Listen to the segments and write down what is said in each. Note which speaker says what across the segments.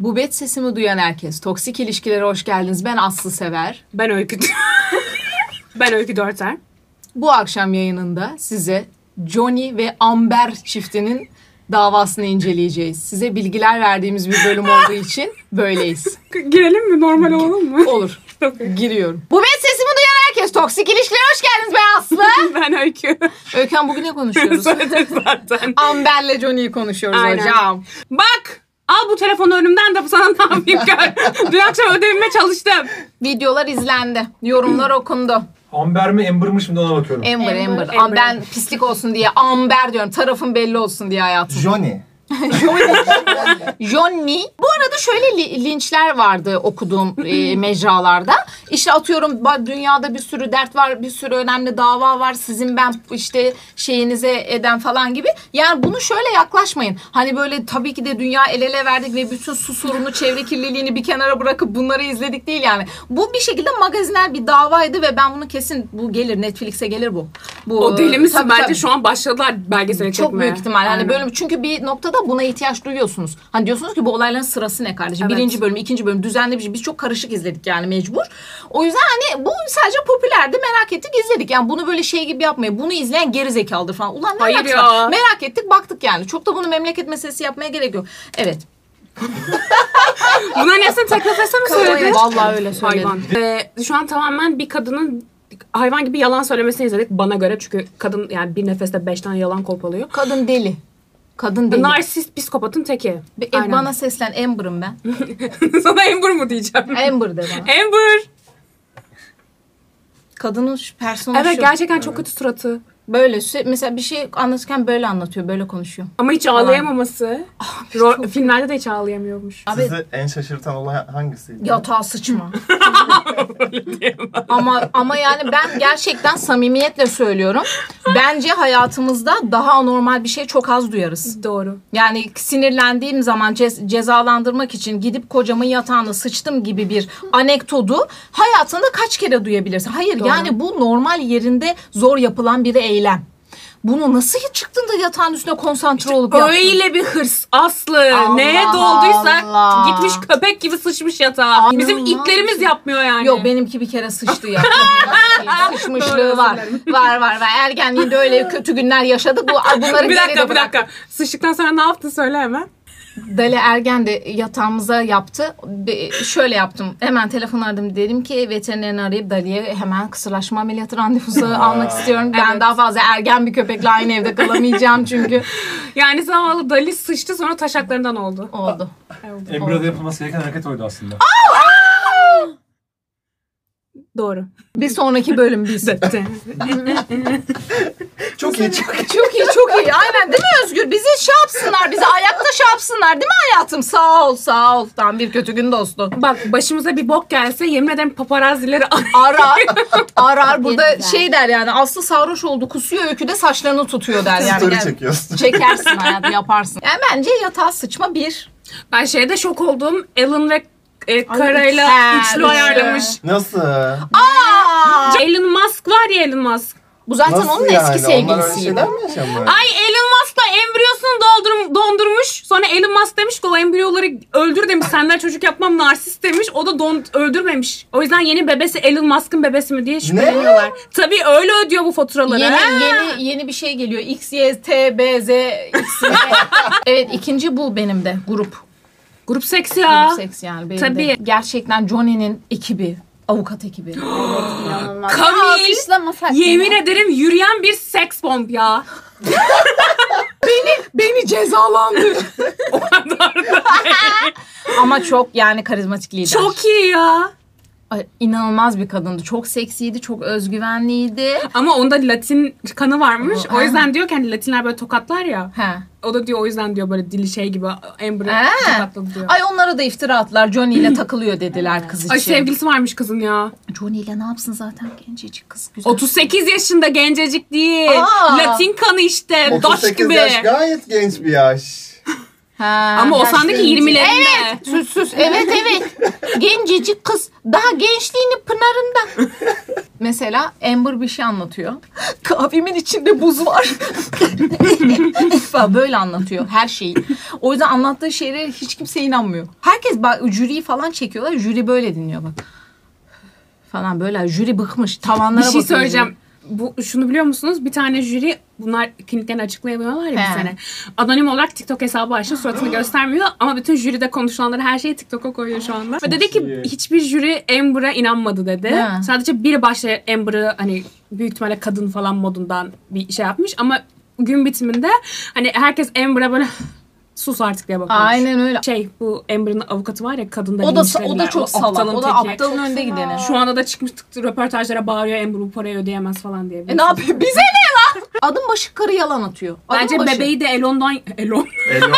Speaker 1: Bu bet sesimi duyan herkes. Toksik ilişkilere hoş geldiniz. Ben Aslı Sever.
Speaker 2: Ben Öykü... ben Öykü Dörter.
Speaker 1: Bu akşam yayınında size Johnny ve Amber çiftinin davasını inceleyeceğiz. Size bilgiler verdiğimiz bir bölüm olduğu için böyleyiz.
Speaker 2: Girelim mi? Normal olalım mı?
Speaker 1: Olur.
Speaker 2: Okey.
Speaker 1: Giriyorum. Bu bet sesimi duyan herkes. Toksik ilişkilere hoş geldiniz. Ben Aslı.
Speaker 2: ben Öykü.
Speaker 1: Öykhan bugün ne konuşuyoruz?
Speaker 2: Söyledim zaten.
Speaker 1: Amber'le Johnny'yi konuşuyoruz
Speaker 2: Aynen.
Speaker 1: hocam.
Speaker 2: Bak! Al bu telefonu önümden de sana ne yapayım gör. Dün akşam ödevime çalıştım.
Speaker 1: Ee, Videolar izlendi. Yorumlar okundu.
Speaker 3: Amber mi Amber'mış mı ona bakıyorum.
Speaker 1: Amber,
Speaker 2: Amber,
Speaker 1: Amber.
Speaker 2: Amber.
Speaker 1: Aa, ben pislik olsun diye Amber diyorum. Tarafın belli olsun diye hayatım.
Speaker 4: Johnny.
Speaker 1: Johnny. Bu arada şöyle li- linçler vardı okuduğum e, mecralarda. İşte atıyorum ba- dünyada bir sürü dert var, bir sürü önemli dava var. Sizin ben işte şeyinize eden falan gibi. Yani bunu şöyle yaklaşmayın. Hani böyle tabii ki de dünya el ele verdik ve bütün su sorunu, çevre kirliliğini bir kenara bırakıp bunları izledik değil yani. Bu bir şekilde magazinel bir davaydı ve ben bunu kesin bu gelir Netflix'e gelir bu. Bu
Speaker 2: O deli misin?
Speaker 1: tabii,
Speaker 2: Bence
Speaker 1: tabii.
Speaker 2: şu an başladılar belgeseli çekmeye.
Speaker 1: Çok büyük ihtimal. Hani
Speaker 2: Aynen.
Speaker 1: bölüm çünkü bir noktada buna ihtiyaç duyuyorsunuz. Hani diyorsunuz ki bu olayların sırası ne kardeşim?
Speaker 2: Evet.
Speaker 1: Birinci bölüm, ikinci bölüm düzenli bir şey. Biz çok karışık izledik yani mecbur. O yüzden hani bu sadece popülerdi. Merak ettik izledik. Yani bunu böyle şey gibi yapmayın. Bunu izleyen geri zekalıdır falan. Ulan ne
Speaker 2: Hayır
Speaker 1: alakası
Speaker 2: ya.
Speaker 1: var? Merak ettik baktık yani. Çok da bunu memleket meselesi yapmaya gerek yok. Evet.
Speaker 2: Buna nesne taklifese mi söyledi?
Speaker 1: Vallahi öyle söyledim.
Speaker 2: Hayvan. Ee, şu an tamamen bir kadının hayvan gibi yalan söylemesini izledik bana göre. Çünkü kadın yani bir nefeste beş tane yalan kopalıyor.
Speaker 1: Kadın deli. Kadın deli.
Speaker 2: Narsist psikopatın teki.
Speaker 1: Bir- e,
Speaker 2: Aynen.
Speaker 1: bana seslen Amber'ım ben.
Speaker 2: Sana Amber mu diyeceğim?
Speaker 1: Amber de bana.
Speaker 2: Amber.
Speaker 1: Kadının şu personu
Speaker 2: Evet
Speaker 1: şu.
Speaker 2: gerçekten çok kötü suratı.
Speaker 1: Böyle sü- mesela bir şey anlatırken böyle anlatıyor. Böyle konuşuyor.
Speaker 2: Ama hiç ağlayamaması. Ro- filmlerde de hiç ağlayamıyormuş.
Speaker 1: Abi-
Speaker 4: Sizi en şaşırtan olay hangisiydi?
Speaker 1: Yatağa sıçma. ama ama yani ben gerçekten samimiyetle söylüyorum. Bence hayatımızda daha anormal bir şey çok az duyarız.
Speaker 2: Doğru.
Speaker 1: Yani sinirlendiğim zaman ce- cezalandırmak için gidip kocamın yatağına sıçtım gibi bir anekdodu hayatında kaç kere duyabilirsin? Hayır
Speaker 2: Doğru.
Speaker 1: yani bu normal yerinde zor yapılan bir eylem. Bunu nasıl çıktın da yatağın üstüne konsantre olup yaptın?
Speaker 2: Öyle bir hırs Aslı.
Speaker 1: Allah
Speaker 2: Neye dolduysak
Speaker 1: Allah.
Speaker 2: gitmiş köpek gibi sıçmış yatağa.
Speaker 1: Ay,
Speaker 2: Bizim
Speaker 1: inanılmaz.
Speaker 2: iplerimiz yapmıyor yani.
Speaker 1: Yok benimki bir kere sıçtı ya. Sıçmışlığı
Speaker 2: Doğru,
Speaker 1: var. Var var var. Ergenliğinde öyle kötü günler yaşadık. Bu bunları
Speaker 2: bir
Speaker 1: geride
Speaker 2: dakika bir
Speaker 1: bırak.
Speaker 2: dakika. Sıçtıktan sonra ne yaptın söyle hemen.
Speaker 1: Dale Ergen de yatağımıza yaptı. Be- Şöyle yaptım. Hemen telefon aradım. Dedim ki veterinerini arayıp Dali'ye hemen kısırlaşma ameliyatı randevusu almak istiyorum. Ben
Speaker 2: Evet.
Speaker 1: daha fazla ergen bir köpekle aynı evde kalamayacağım çünkü.
Speaker 2: Yani zavallı Dali sıçtı sonra taşaklarından oldu.
Speaker 1: Oldu.
Speaker 3: Amber'a da yapılması gereken hareket oydu aslında.
Speaker 2: Doğru.
Speaker 1: Bir sonraki bölüm biz.
Speaker 4: Çok iyi çok.
Speaker 1: çok iyi çok iyi. Aynen değil mi Özgür? Bizi şey yapsınlar. Bizi ayakta şey yapsınlar. Değil mi hayatım? Sağ ol sağ ol. Tam bir kötü gün dostu.
Speaker 2: Bak başımıza bir bok gelse yemin ederim paparazzileri
Speaker 1: arar arar burada şey der yani Aslı sarhoş oldu kusuyor öykü de saçlarını tutuyor der yani.
Speaker 4: Story
Speaker 1: Gel-
Speaker 4: çekiyorsun.
Speaker 1: Çekersin hayatı yaparsın. Yani bence yatağa sıçma bir.
Speaker 2: Ben şeyde şok oldum. Alan ve e,
Speaker 1: Ha,
Speaker 2: Kara'yla
Speaker 1: üçlü.
Speaker 2: üçlü ayarlamış.
Speaker 4: Nasıl?
Speaker 2: Elon Musk var ya Elon Musk.
Speaker 1: Bu zaten
Speaker 4: Nasıl
Speaker 1: onun
Speaker 4: yani?
Speaker 1: eski
Speaker 4: Onlar öyle
Speaker 1: sevgilisiydi.
Speaker 4: şeyler mi yaşamıyor?
Speaker 2: Ay Elon Musk'la embriyosunu doldurum, dondurmuş. Sonra Elon Musk demiş ki o embriyoları öldür demiş. Senden çocuk yapmam narsist demiş. O da don, öldürmemiş. O yüzden yeni bebesi Elon Musk'ın bebesi mi diye şüpheleniyorlar. Tabii öyle ödüyor bu faturaları.
Speaker 1: Yeni,
Speaker 2: Ha?
Speaker 1: yeni yeni bir şey geliyor. X, Y, T, B, Z, X, Y. evet ikinci bu benim de grup.
Speaker 2: Grup seks ya.
Speaker 1: Grup seks yani benim
Speaker 2: Tabii.
Speaker 1: de. Gerçekten Johnny'nin ekibi. Avukat ekibi.
Speaker 5: İnanılmaz.
Speaker 2: Kamil,
Speaker 5: Ya alkışlamasak mı?
Speaker 2: Yemin ederim yürüyen bir seks bomb ya.
Speaker 1: Beni cezalandır.
Speaker 2: O kadar da.
Speaker 1: Ama çok yani karizmatik lider.
Speaker 2: Çok iyi ya.
Speaker 1: Ay, inanılmaz bir kadındı. Çok seksiydi, çok özgüvenliydi.
Speaker 2: Ama onda Latin kanı varmış.
Speaker 1: O-
Speaker 2: O yüzden diyor ki hani Latinler böyle tokatlar ya.
Speaker 1: He.
Speaker 2: O da diyor o yüzden diyor böyle dili şey gibi Amber'ı
Speaker 1: Ee?
Speaker 2: tokatladı diyor. Ay,
Speaker 1: Ay onlara da iftira attılar. Johnny ile takılıyor dediler kız için.
Speaker 2: sevgilisi varmış kızın ya.
Speaker 1: Johnny ile ne yapsın zaten gencecik kız güzel.
Speaker 2: 38 yaşında gencecik değil.
Speaker 1: Aa.
Speaker 2: Latin kanı işte. Daş
Speaker 4: 38
Speaker 2: gibi.
Speaker 4: yaş gayet genç bir yaş.
Speaker 1: Ha.
Speaker 2: Ama o
Speaker 4: Daş
Speaker 2: sandaki
Speaker 4: genci.
Speaker 2: 20'lerinde. Evet.
Speaker 1: sus sus. Evet evet. Gencecik kız daha gençliğini pınarında. Mesela Amber bir şey anlatıyor. Kahvemin içinde buz var. falan böyle anlatıyor her şeyi. O yüzden anlattığı şeylere hiç kimse inanmıyor. Herkes bak jüriyi falan çekiyorlar. Jüri böyle dinliyor bak. Falan böyle jüri bıkmış. Tavanlara
Speaker 2: Bir şey
Speaker 1: bakıyor jüri.
Speaker 2: söyleyeceğim. Bu, şunu biliyor musunuz? Bir tane jüri bunlar kimliklerini açıklayamıyorlar ya
Speaker 1: He.
Speaker 2: bir sene. Anonim olarak TikTok hesabı açtı. Suratını göstermiyor ama bütün jüride konuşulanları her şeyi TikTok'a koyuyor şu anda. Ve dedi ki
Speaker 3: iyi.
Speaker 2: hiçbir jüri Amber'a inanmadı dedi.
Speaker 1: He.
Speaker 2: Sadece biri başta Amber'ı hani büyük ihtimalle kadın falan modundan bir şey yapmış ama gün bitiminde hani herkes Amber'a böyle sus artık diye bakmış.
Speaker 1: Aynen öyle.
Speaker 2: Şey bu Amber'ın avukatı var ya kadın da
Speaker 1: O da o
Speaker 2: linçlediler.
Speaker 1: da çok salak.
Speaker 2: aptalın
Speaker 1: O da
Speaker 2: teki.
Speaker 1: aptalın önde gideni.
Speaker 2: Şu anda da çıkmıştık röportajlara bağırıyor Amber bu parayı ödeyemez falan diye.
Speaker 1: E ne yapıyor? Bize ne lan? Adım başı karı yalan atıyor. Adım
Speaker 2: Bence
Speaker 1: başı.
Speaker 2: bebeği de Elon'dan Elon
Speaker 4: Elo.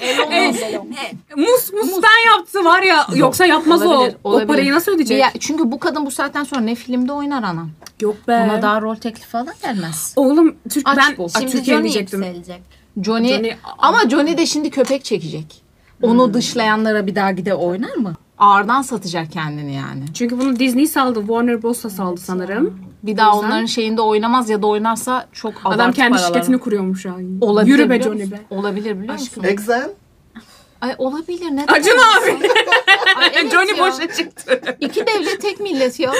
Speaker 1: Elon Musk.
Speaker 2: Mus Mus'tan yaptı var ya yoksa yapmaz
Speaker 1: Olabilir,
Speaker 2: o.
Speaker 1: olabilir.
Speaker 2: O parayı nasıl ödeyecek?
Speaker 1: Ya, çünkü bu kadın bu saatten sonra ne filmde oynar anam.
Speaker 2: Yok be.
Speaker 1: Ona daha rol teklifi falan gelmez.
Speaker 2: Oğlum Türk
Speaker 1: Aç
Speaker 2: ben
Speaker 1: bul.
Speaker 2: Aa,
Speaker 5: Şimdi
Speaker 2: Türkiye
Speaker 5: Johnny
Speaker 2: diyecektim.
Speaker 5: yükselecek.
Speaker 1: Johnny,
Speaker 2: Johnny- Hmm.
Speaker 1: ama Johnny de şimdi köpek çekecek. Onu dışlayanlara bir daha gide oynar mı? Ağırdan satacak kendini yani.
Speaker 2: Çünkü bunu Disney saldı, Warner Bros da saldı sanırım.
Speaker 1: Bir daha
Speaker 2: O yüzden-
Speaker 1: onların şeyinde oynamaz ya da oynarsa çok abartı
Speaker 2: Adam kendi
Speaker 1: paralar.
Speaker 2: şirketini kuruyormuş yani.
Speaker 1: olabilir
Speaker 2: Yürü be
Speaker 1: biliyor
Speaker 2: Johnny
Speaker 1: musun?
Speaker 2: be.
Speaker 1: Olabilir biliyor musun?
Speaker 4: Exen.
Speaker 1: Ay olabilir ne demek?
Speaker 2: Acun abi.
Speaker 1: Ay, evet
Speaker 2: E, Johnny
Speaker 1: ya.
Speaker 2: boşa çıktı.
Speaker 1: İki devlet tek millet ya.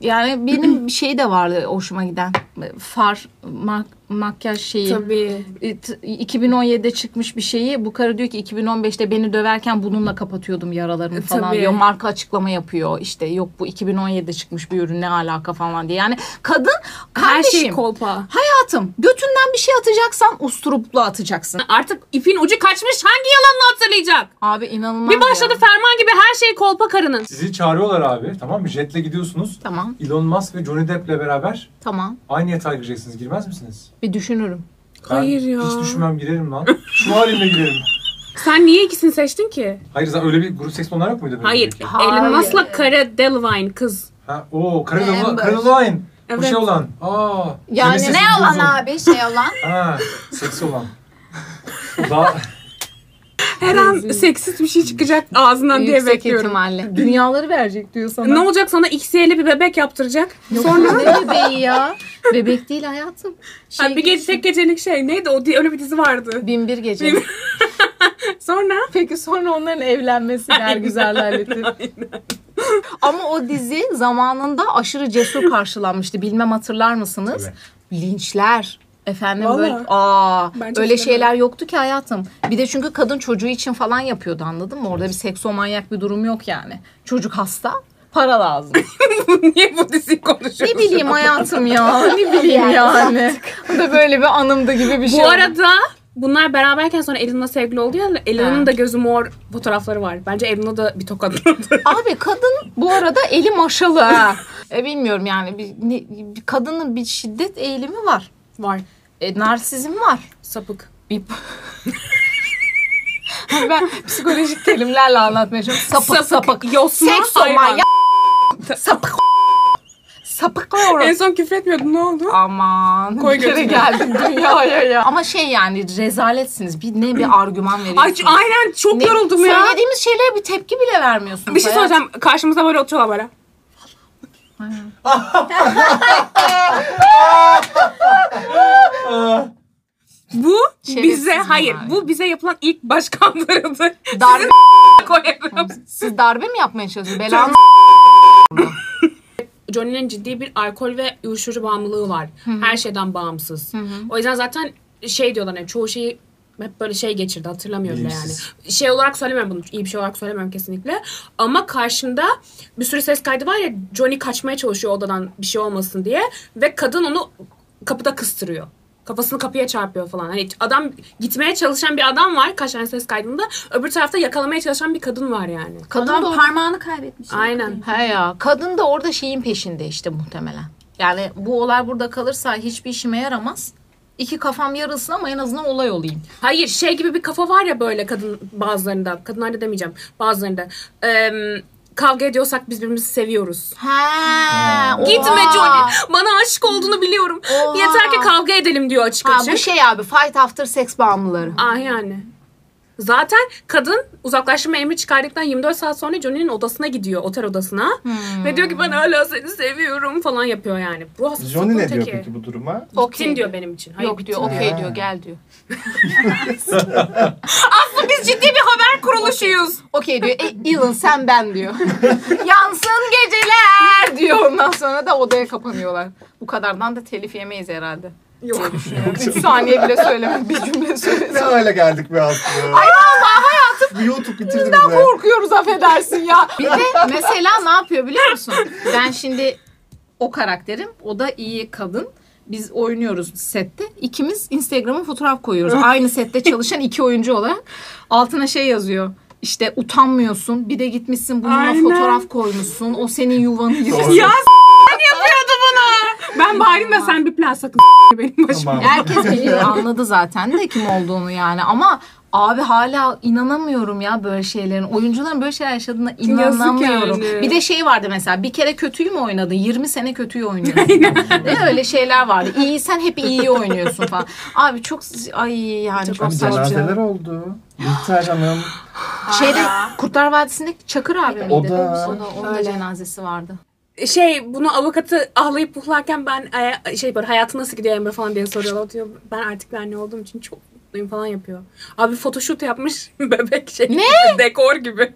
Speaker 1: yani benim bir şey de vardı hoşuma giden. Far, mak- makyaj şeyi.
Speaker 2: Tabii.
Speaker 1: E, t- 2017'de çıkmış bir şeyi. Bu karı diyor ki 2015'te beni döverken bununla kapatıyordum yaralarımı
Speaker 2: E,
Speaker 1: falan
Speaker 2: tabii.
Speaker 1: diyor. Marka açıklama yapıyor. İşte yok bu 2017'de çıkmış bir ürün ne alaka falan diye. Yani kadın
Speaker 2: Her
Speaker 1: kardeşim
Speaker 2: şey kolpa.
Speaker 1: hayatım götünden bir şey atacaksan usturuplu atacaksın.
Speaker 2: Artık ipin ucu kaçmış hangi yalanını hatırlayacak?
Speaker 1: Abi inanılmaz
Speaker 2: Bir başladı
Speaker 1: ya.
Speaker 2: ferman gibi her şey kolpa karının.
Speaker 3: Sizi çağırıyorlar abi tamam mı? Jetle gidiyorsunuz.
Speaker 1: Tamam
Speaker 3: Elon Musk ve Johnny Depp'le beraber
Speaker 1: tamam
Speaker 3: aynı yatağa gireceksiniz. Girmez misiniz?
Speaker 1: bir düşünürüm.
Speaker 3: Ben
Speaker 2: Hayır ya.
Speaker 3: Hiç düşünmem girerim lan. Şu halimle girerim.
Speaker 2: Sen niye ikisini seçtin ki?
Speaker 3: Hayır zaten öyle bir grup seks onlar yok muydu?
Speaker 2: Hayır.
Speaker 3: Önceki?
Speaker 2: Elon
Speaker 1: Hayır.
Speaker 2: Musk'la Kara Delevingne kız.
Speaker 3: Ha, oo
Speaker 5: Amber.
Speaker 3: Caroline. Caroline. Bu
Speaker 2: Evet.
Speaker 3: şey olan. Aa.
Speaker 1: Yani
Speaker 3: Nemesis
Speaker 5: Ne
Speaker 3: Johnson.
Speaker 5: olan abi şey olan?
Speaker 3: Ha, seksi olan. Daha
Speaker 2: Her an seksist bir şey çıkacak ağzından diye
Speaker 1: Yüksek
Speaker 2: bekliyorum.
Speaker 1: ihtimalle. Dünyaları verecek diyor sana.
Speaker 2: Ne olacak sana XY'li bir bebek yaptıracak.
Speaker 1: Sonra ne bebeği ya? Bebek değil hayatım. Şey,
Speaker 2: Ha, bir gece, tek gecelik şey neydi o diye öyle bir dizi vardı.
Speaker 1: Bin bir gece.
Speaker 2: Bin- Sonra
Speaker 1: Peki sonra onların evlenmesi der güzellerle. Ama o dizi zamanında aşırı cesur karşılanmıştı. Bilmem hatırlar mısınız? Linçler. Efendim
Speaker 2: Vallahi.
Speaker 1: böyle aa
Speaker 2: Bence
Speaker 1: öyle
Speaker 2: hiç
Speaker 1: şeyler yoktu ki hayatım. Bir de çünkü kadın çocuğu için falan yapıyordu anladın mı? Orada bir seksomanyak bir durum yok yani. Çocuk hasta, para lazım.
Speaker 2: niye bu dizi konuşuyoruz?
Speaker 1: ne bileyim hayatım ya. Ne bileyim yani. Bu da böyle bir anımdı gibi bir şey.
Speaker 2: Bu
Speaker 1: oldu.
Speaker 2: arada bunlar beraberken sonra Elon'la sevgili oldu ya. Elon'un
Speaker 1: Ha.
Speaker 2: da gözü mor fotoğrafları var. Bence Elon'a da bir tokat vurdu.
Speaker 1: Abi kadın bu arada eli maşalı ha. E, bilmiyorum yani bir, ne- bir kadının bir şiddet eğilimi var.
Speaker 2: var.
Speaker 1: E, narsizm var.
Speaker 2: Sapık.
Speaker 1: Bir... Hani ben psikolojik terimlerle anlatmaya çalışıyorum. Sapık sapık.
Speaker 2: Yosma
Speaker 1: Seks
Speaker 2: hayvan.
Speaker 1: ya. Sapık. Sapık
Speaker 2: En
Speaker 1: orası.
Speaker 2: son küfretmiyordun ne oldu?
Speaker 1: Aman.
Speaker 2: Koy
Speaker 1: bir kere
Speaker 2: götüne.
Speaker 1: geldim dünyaya ya. Ama şey yani rezaletsiniz. Bir ne bir argüman
Speaker 2: Ay,
Speaker 1: veriyorsunuz.
Speaker 2: aynen çok
Speaker 1: Ne-
Speaker 2: yoruldum ya.
Speaker 1: Söylediğimiz şeylere bir tepki bile vermiyorsunuz.
Speaker 2: Bir şey
Speaker 1: hayatım.
Speaker 2: söyleyeceğim. Karşımıza böyle oturuyorlar böyle. Bu
Speaker 1: Şerefsiz
Speaker 2: bize hayır.
Speaker 1: bunlar ya.
Speaker 2: Bu bize yapılan ilk başkandırıldı.
Speaker 1: Darbe
Speaker 2: Koyarım.
Speaker 1: Siz darbe mi yapmaya çalışıyorsunuz? Belanı
Speaker 2: Johnny'nin ciddi bir alkol ve uyuşturucu bağımlılığı var. Her şeyden bağımsız. O yüzden zaten şey diyorlar hani çoğu şeyi hep böyle şey geçirdi hatırlamıyorum da yani.
Speaker 3: Bilinçsiz.
Speaker 2: Şey olarak söylemiyorum bunu. iyi bir şey olarak söylemiyorum kesinlikle. Ama karşında bir sürü ses kaydı var ya Johnny kaçmaya çalışıyor odadan bir şey olmasın diye ve kadın onu kapıda kıstırıyor. Kafasını kapıya çarpıyor falan. Hani adam gitmeye çalışan bir adam var kaç tane ses kaydında. Öbür tarafta yakalamaya çalışan bir kadın var yani.
Speaker 1: kadın da
Speaker 5: Adam
Speaker 1: orada...
Speaker 5: parmağını kaybetmiş.
Speaker 2: Aynen.
Speaker 1: He ya. Kadın da orada şeyin peşinde işte muhtemelen. Yani bu olay burada kalırsa hiçbir işime yaramaz. İki kafam yarılsın ama en azından olay olayım.
Speaker 2: Hayır şey gibi bir kafa var ya böyle kadın bazılarında. Kadınlarda demeyeceğim. Bazılarında. Eee, kavga ediyorsak biz birbirimizi seviyoruz.
Speaker 1: Ha.
Speaker 2: Gitme Johnny. Bana aşık olduğunu biliyorum.
Speaker 1: Oha.
Speaker 4: şey-
Speaker 2: Yeter ki kavga edelim diyor açık
Speaker 1: Ha
Speaker 2: açık.
Speaker 1: bu şey abi fight after sex bağımlıları.
Speaker 2: Ah yani. Zaten kadın uzaklaştırma emri çıkardıktan 24 saat sonra Johnny'nin odasına gidiyor. Otel odasına. Ve diyor ki ben hala seni seviyorum falan yapıyor yani. Bu hastalık
Speaker 4: Johnny ne diyor
Speaker 2: öteki.
Speaker 4: peki bu duruma?
Speaker 2: Bittin diyor benim için. Hayır,
Speaker 1: Yok diyor
Speaker 2: bittin.
Speaker 1: okey
Speaker 4: Ha.
Speaker 1: diyor gel diyor.
Speaker 2: Biz ciddi bir haber kuruluşuyuz.
Speaker 1: Okey diyor. E, Elon sen ben diyor. Yansın geceler diyor. Ondan sonra da odaya kapanıyorlar. Bu kadardan da telif yemeyiz herhalde.
Speaker 2: Yok.
Speaker 1: Üç saniye bile söylemem. Bir cümle söyledim.
Speaker 4: Ne hale geldik be Aslı? Ay hayatım. YouTube bitirdi bizi.
Speaker 1: Korkuyoruz affedersin ya.
Speaker 5: Bir de mesela ne yapıyor biliyor musun? Ben şimdi
Speaker 1: o karakterim. O da iyi kadın. Biz oynuyoruz sette. İkimiz Instagram'a fotoğraf koyuyoruz. Aynı sette çalışan iki oyuncu olarak. Altına şey yazıyor. İşte utanmıyorsun. Bir de gitmişsin bununla
Speaker 2: Aynen.
Speaker 1: fotoğraf koymuşsun. O senin yuvanı yıkıyor.
Speaker 2: ya yapıyordu bunu. Ben bağırayım da sen bir plan sakın benim başıma.
Speaker 4: Tamam.
Speaker 1: Herkes biliyor anladı zaten de kim olduğunu yani ama abi hala inanamıyorum ya böyle şeylerin. Oyuncuların böyle şeyler yaşadığına inanamıyorum.
Speaker 2: yani.
Speaker 1: Bir de şey vardı mesela bir kere kötüyü mü oynadın? 20 sene kötüyü oynuyorsun. Değil mi? Öyle şeyler vardı. İyi sen hep iyi oynuyorsun falan. Abi çok ay yani çok,
Speaker 4: Abi cenazeler
Speaker 1: saçma.
Speaker 4: oldu. Bihter Hanım.
Speaker 1: Şeyde Kurtlar Vadisi'ndeki Çakır abi miydi?
Speaker 4: O da-
Speaker 1: O da onun da
Speaker 2: Öyle.
Speaker 1: cenazesi vardı.
Speaker 2: Şey bunu avukatı ağlayıp puhlarken ben e, şey böyle hayatın nasıl gidiyor Emre falan diye soruyorlar. O diyor ben artık ben ne olduğum için çok mutluyum falan yapıyor. Abi photoshoot yapmış bebek şey. Dekor gibi.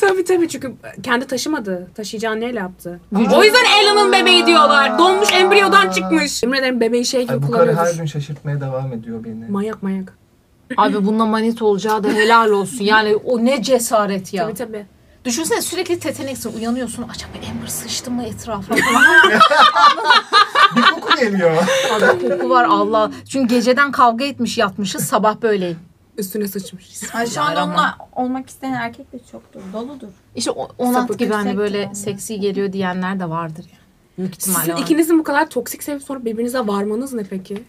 Speaker 2: tabii tabii çünkü kendi taşımadı. Taşıyacağı neyle yaptı.
Speaker 1: Vücut-
Speaker 2: O yüzden Ellen'ın bebeği Şey diyorlar. Donmuş embriyodan çıkmış. Emre'den bebeği şey gibi
Speaker 4: Ay, bu karı her
Speaker 2: kullanıyordur.
Speaker 4: gün şaşırtmaya devam ediyor beni.
Speaker 2: Manyak manyak.
Speaker 1: Abi bununla manit olacağı da helal olsun. Yani o ne cesaret ya.
Speaker 2: Tabii tabii.
Speaker 1: Düşünsene sürekli teteneksin. Uyanıyorsun. Acaba Amber sıçtı mı etrafa falan.
Speaker 4: Bir koku geliyor.
Speaker 1: Fazla koku var Allah. Çünkü geceden kavga etmiş yatmışız. Sabah böyleyim.
Speaker 2: Üstüne sıçmış.
Speaker 5: Ay şu anda
Speaker 1: Yaramaz.
Speaker 5: onunla olmak isteyen erkek de çoktur. Doludur.
Speaker 1: İşte o- Onat
Speaker 2: Sapık
Speaker 1: gibi hani
Speaker 5: yüksek
Speaker 1: böyle
Speaker 5: yani.
Speaker 1: seksi geliyor diyenler de vardır yani. Büyük ihtimalle
Speaker 2: Sizin
Speaker 1: vardır.
Speaker 2: ikinizin bu kadar toksik sevip sonra birbirinize varmanız ne peki?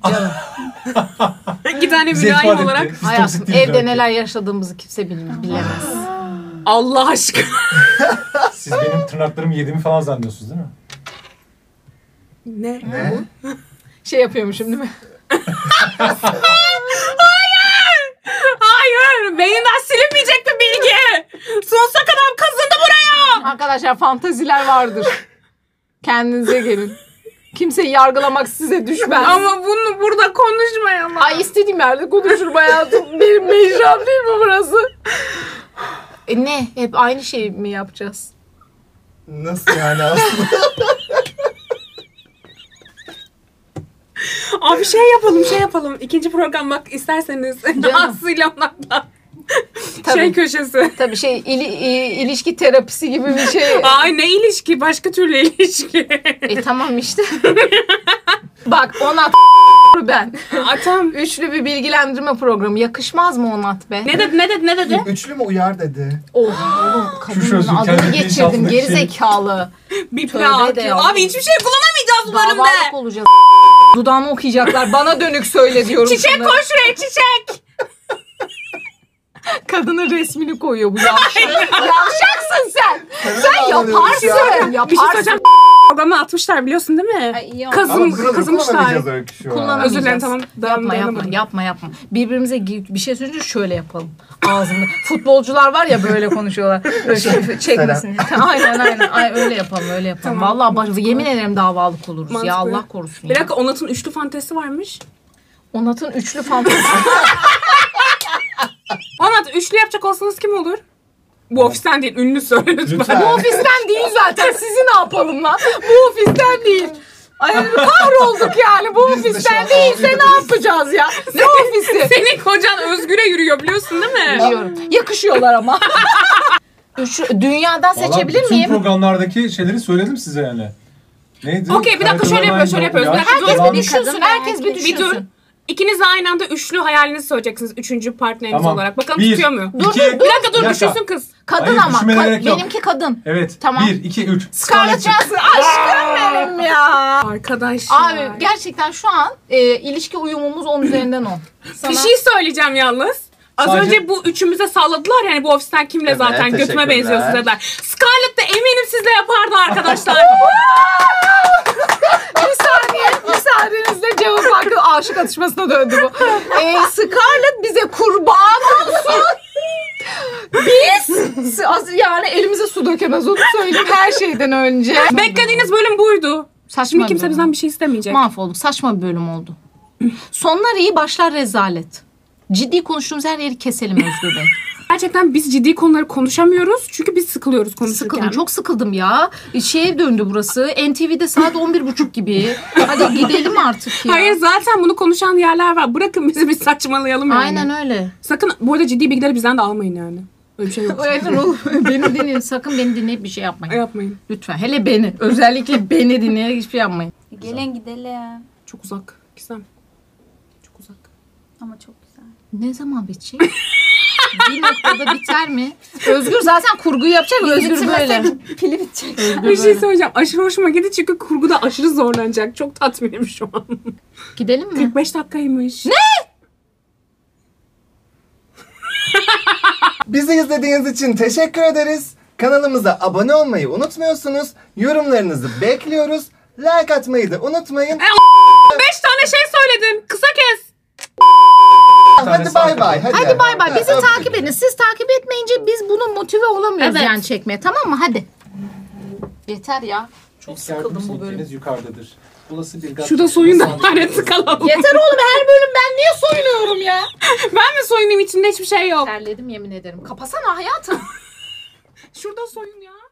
Speaker 2: İki tane
Speaker 3: Bize
Speaker 2: mülayim
Speaker 3: ifade
Speaker 2: olarak.
Speaker 3: etti. Biz
Speaker 1: Hayatım
Speaker 3: toksik değiliz
Speaker 1: evde
Speaker 3: belki.
Speaker 1: neler yaşadığımızı kimse bilmez, bilemez.
Speaker 2: Allah aşkına.
Speaker 3: Siz benim tırnaklarımı yediğimi falan zannediyorsunuz değil mi?
Speaker 2: Ne?
Speaker 4: Ne?
Speaker 1: Şey yapıyormuşum değil mi?
Speaker 2: Hayır. Beyinden silinmeyecek bir bilgi. Sonsuza kadar kazındı buraya.
Speaker 1: Arkadaşlar fantaziler vardır. Kendinize gelin. Kimseyi yargılamak size düşmez.
Speaker 2: Ama bunu burada konuşmayalım.
Speaker 1: Ay istediğim yerde konuşurum hayatım. Benim mecram değil mi burası? E ne? Hep aynı şeyi mi yapacağız?
Speaker 4: Nasıl yani Aslı?
Speaker 2: Abi şey yapalım şey yapalım. İkinci program bak isterseniz. Aslı'yla onlarla.
Speaker 1: Tabii.
Speaker 2: Şey köşesi.
Speaker 1: Tabii şey ili, i- ilişki terapisi gibi bir şey.
Speaker 2: Ay ne ilişki? Başka türlü ilişki.
Speaker 1: E tamam işte. Bak Onat ben.
Speaker 2: Atam.
Speaker 1: Üçlü bir bilgilendirme programı. Yakışmaz mı Onat be?
Speaker 2: Ne dedi ne dedi ne dedi?
Speaker 4: Üçlü mü uyar dedi.
Speaker 1: Oha oğlum kadının
Speaker 3: sözün
Speaker 1: adını
Speaker 3: kendi
Speaker 1: geçirdim
Speaker 3: bilinçaltındaki
Speaker 1: geri
Speaker 3: şey.
Speaker 1: zekalı.
Speaker 2: Bir
Speaker 1: Tövbe
Speaker 2: plan.
Speaker 1: de
Speaker 2: atıyor.
Speaker 1: ya.
Speaker 2: Abi hiçbir şey kullanamayacağız bu
Speaker 1: Davalık
Speaker 2: bölümde.
Speaker 1: olacağız. Dudağımı okuyacaklar. Bana dönük söyle diyorum.
Speaker 2: Çiçek
Speaker 1: sana.
Speaker 2: koy şuraya çiçek.
Speaker 1: Kadının resmini koyuyor bu yavşak. Yavşaksın sen. Sen yaparsın.
Speaker 2: Bir şey
Speaker 1: Yaparsın.
Speaker 2: söyleyeceğim. Programı atmışlar biliyorsun değil mi?
Speaker 5: Ay iyi
Speaker 2: Kız-
Speaker 5: Kız...
Speaker 4: Ama buraları
Speaker 2: kızmışlar.
Speaker 4: kullanamayacağız öykü şu an.
Speaker 1: Kullanamayacağız.
Speaker 2: Özür dilerim tamam. Devam-
Speaker 1: Yapma
Speaker 2: devam
Speaker 1: yapma
Speaker 2: edelim.
Speaker 1: yapma yapma. Birbirimize gi- bir şey söyleyince şöyle yapalım. Ağzını. Futbolcular var ya böyle konuşuyorlar. Böyle şey çekmesin. aynen aynen. Ay, öyle yapalım öyle yapalım.
Speaker 2: Tamam.
Speaker 1: Vallahi bak, yemin ederim davalık oluruz ya
Speaker 2: Mantıklı.
Speaker 1: Allah korusun.
Speaker 2: Bir
Speaker 1: Ya.
Speaker 2: dakika Onat'ın üçlü fantezisi varmış.
Speaker 1: Onat'ın üçlü fantezi.
Speaker 2: Onat üçlü yapacak olsanız kim olur? Bu ofisten değil ünlü söyle lütfen.
Speaker 4: Lütfen.
Speaker 1: ofisten değil zaten. Sizi ne yapalım lan? Bu ofisten değil. Ay, kahrolduk yani. Bu
Speaker 4: Biz de
Speaker 1: ofisten
Speaker 4: şu an
Speaker 1: değilse ne yapacağız ya? Ne ofisi?
Speaker 2: Senin kocan Özgür'e yürüyor biliyorsun değil mi?
Speaker 1: Biliyorum. Yakışıyorlar ama. Üçlü, dünyadan
Speaker 3: Vallahi
Speaker 1: seçebilir
Speaker 3: bütün
Speaker 1: miyim?
Speaker 3: programlardaki şeyleri söyledim size yani. Neydi? şey.
Speaker 2: Okey, bir dakika,
Speaker 3: Kayıtlı
Speaker 2: şöyle yapıyoruz, şöyle
Speaker 3: olan-
Speaker 2: yapıyoruz. Bir dakika,
Speaker 3: Yaşlı
Speaker 1: Herkes
Speaker 2: dur.
Speaker 3: olan-
Speaker 1: bir düşünsün.
Speaker 5: Kadın
Speaker 1: Herkes bir
Speaker 5: erkek.
Speaker 2: Bir dur.
Speaker 1: düşünsün.
Speaker 2: İkiniz de aynı anda üçlü hayalinizi söyleyeceksiniz. Üçüncü partneriniz
Speaker 3: Tamam.
Speaker 2: olarak. Bakalım
Speaker 3: Bir,
Speaker 2: tutuyor mu?
Speaker 3: iki,
Speaker 2: Bir dakika dur
Speaker 3: bir dakika.
Speaker 2: düşünsün kız.
Speaker 1: Kadın
Speaker 3: Hayır,
Speaker 1: ama.
Speaker 3: düşünmene
Speaker 1: ka-
Speaker 3: gerek yok.
Speaker 1: benimki kadın.
Speaker 3: Evet.
Speaker 1: Tamam.
Speaker 3: 1, 2, 3.
Speaker 1: Scarlett Johansson aşkım benim ya.
Speaker 2: Arkadaşlar.
Speaker 1: Abi gerçekten şu an e, ilişki uyumumuz 10 üzerinden 10.
Speaker 2: Bir şey söyleyeceğim yalnız. Az
Speaker 3: Sadece-
Speaker 2: önce bu üçümüze salladılar yani bu ofisten kimle
Speaker 4: Evet,
Speaker 2: zaten götüme
Speaker 4: teşekkürler.
Speaker 2: benziyorsunuz dediler. Scarlett de eminim sizle yapardı arkadaşlar.
Speaker 1: bir saniye, müsaadenizle cevap hakkı aşık atışmasına döndü bu. E, Scarlett bize kurban olsun.
Speaker 5: yani elimize su dökemez onu söyleyeyim her şeyden önce.
Speaker 2: Beklediğiniz bölüm buydu.
Speaker 1: Saçma
Speaker 2: Şimdi kimse
Speaker 1: bölüm.
Speaker 2: bizden bir şey istemeyecek.
Speaker 1: Mahvolduk. Saçma bir bölüm oldu. Sonlar iyi başlar rezalet. Ciddi konuştuğumuz her yeri keselim Özgür Bey.
Speaker 2: Gerçekten biz ciddi konuları konuşamıyoruz. Çünkü biz sıkılıyoruz konuşurken.
Speaker 1: Sıkıldım. Çok sıkıldım ya. E, Şeye döndü burası. NTV'de saat 11.30 gibi. Hadi gidelim artık ya.
Speaker 2: Hayır zaten bunu konuşan yerler var. Bırakın bizi biz saçmalayalım yani.
Speaker 1: Aynen öyle.
Speaker 2: Sakın bu arada ciddi bilgileri bizden de almayın yani. Öyle bir şey yok.
Speaker 1: Aynen oğlum. beni dinleyin. Sakın beni dinleyip bir şey yapmayın.
Speaker 2: Yapmayın.
Speaker 1: Lütfen. Hele beni. Özellikle beni dinleyerek hiçbir şey yapmayın.
Speaker 6: Gelin gidelim.
Speaker 2: Çok uzak. Gizem. Çok uzak.
Speaker 6: Ama çok güzel.
Speaker 1: Ne zaman bitecek? bir noktada biter mi? Özgür zaten kurgu yapacak. Özgür böyle.
Speaker 6: Pili bitecek.
Speaker 1: Özgür
Speaker 2: Bir şey
Speaker 1: böyle.
Speaker 2: söyleyeceğim. Aşırı hoşuma gitti çünkü kurguda aşırı zorlanacak. Çok tatminim şu an.
Speaker 1: Gidelim mi?
Speaker 2: 45 dakikaymış. Ne?
Speaker 4: Bizi izlediğiniz için teşekkür ederiz. Kanalımıza abone olmayı unutmuyorsunuz. Yorumlarınızı bekliyoruz. Like atmayı da
Speaker 2: 5
Speaker 4: unutmayın.
Speaker 2: tane şey söyledin. Kısa kes.
Speaker 4: Hadi bay bay. Hadi,
Speaker 1: Hadi bay bay. Bizi
Speaker 4: Öptük.
Speaker 1: takip edin. Siz takip etmeyince biz bunu motive olamıyoruz
Speaker 5: Evet.
Speaker 1: yani çekmeye. Tamam mı? Hadi. Yeter ya.
Speaker 3: Çok sıkıldım bu bölüm. yukarıdadır. Olası bir gat-
Speaker 2: Şurada soyun da lanet sıkalım.
Speaker 1: Yeter oğlum her bölüm ben niye soyunuyorum ya?
Speaker 2: Ben mi soyunayım içinde hiçbir şey yok.
Speaker 1: Terledim yemin ederim. Kapasana hayatım.
Speaker 2: Şurada soyun ya.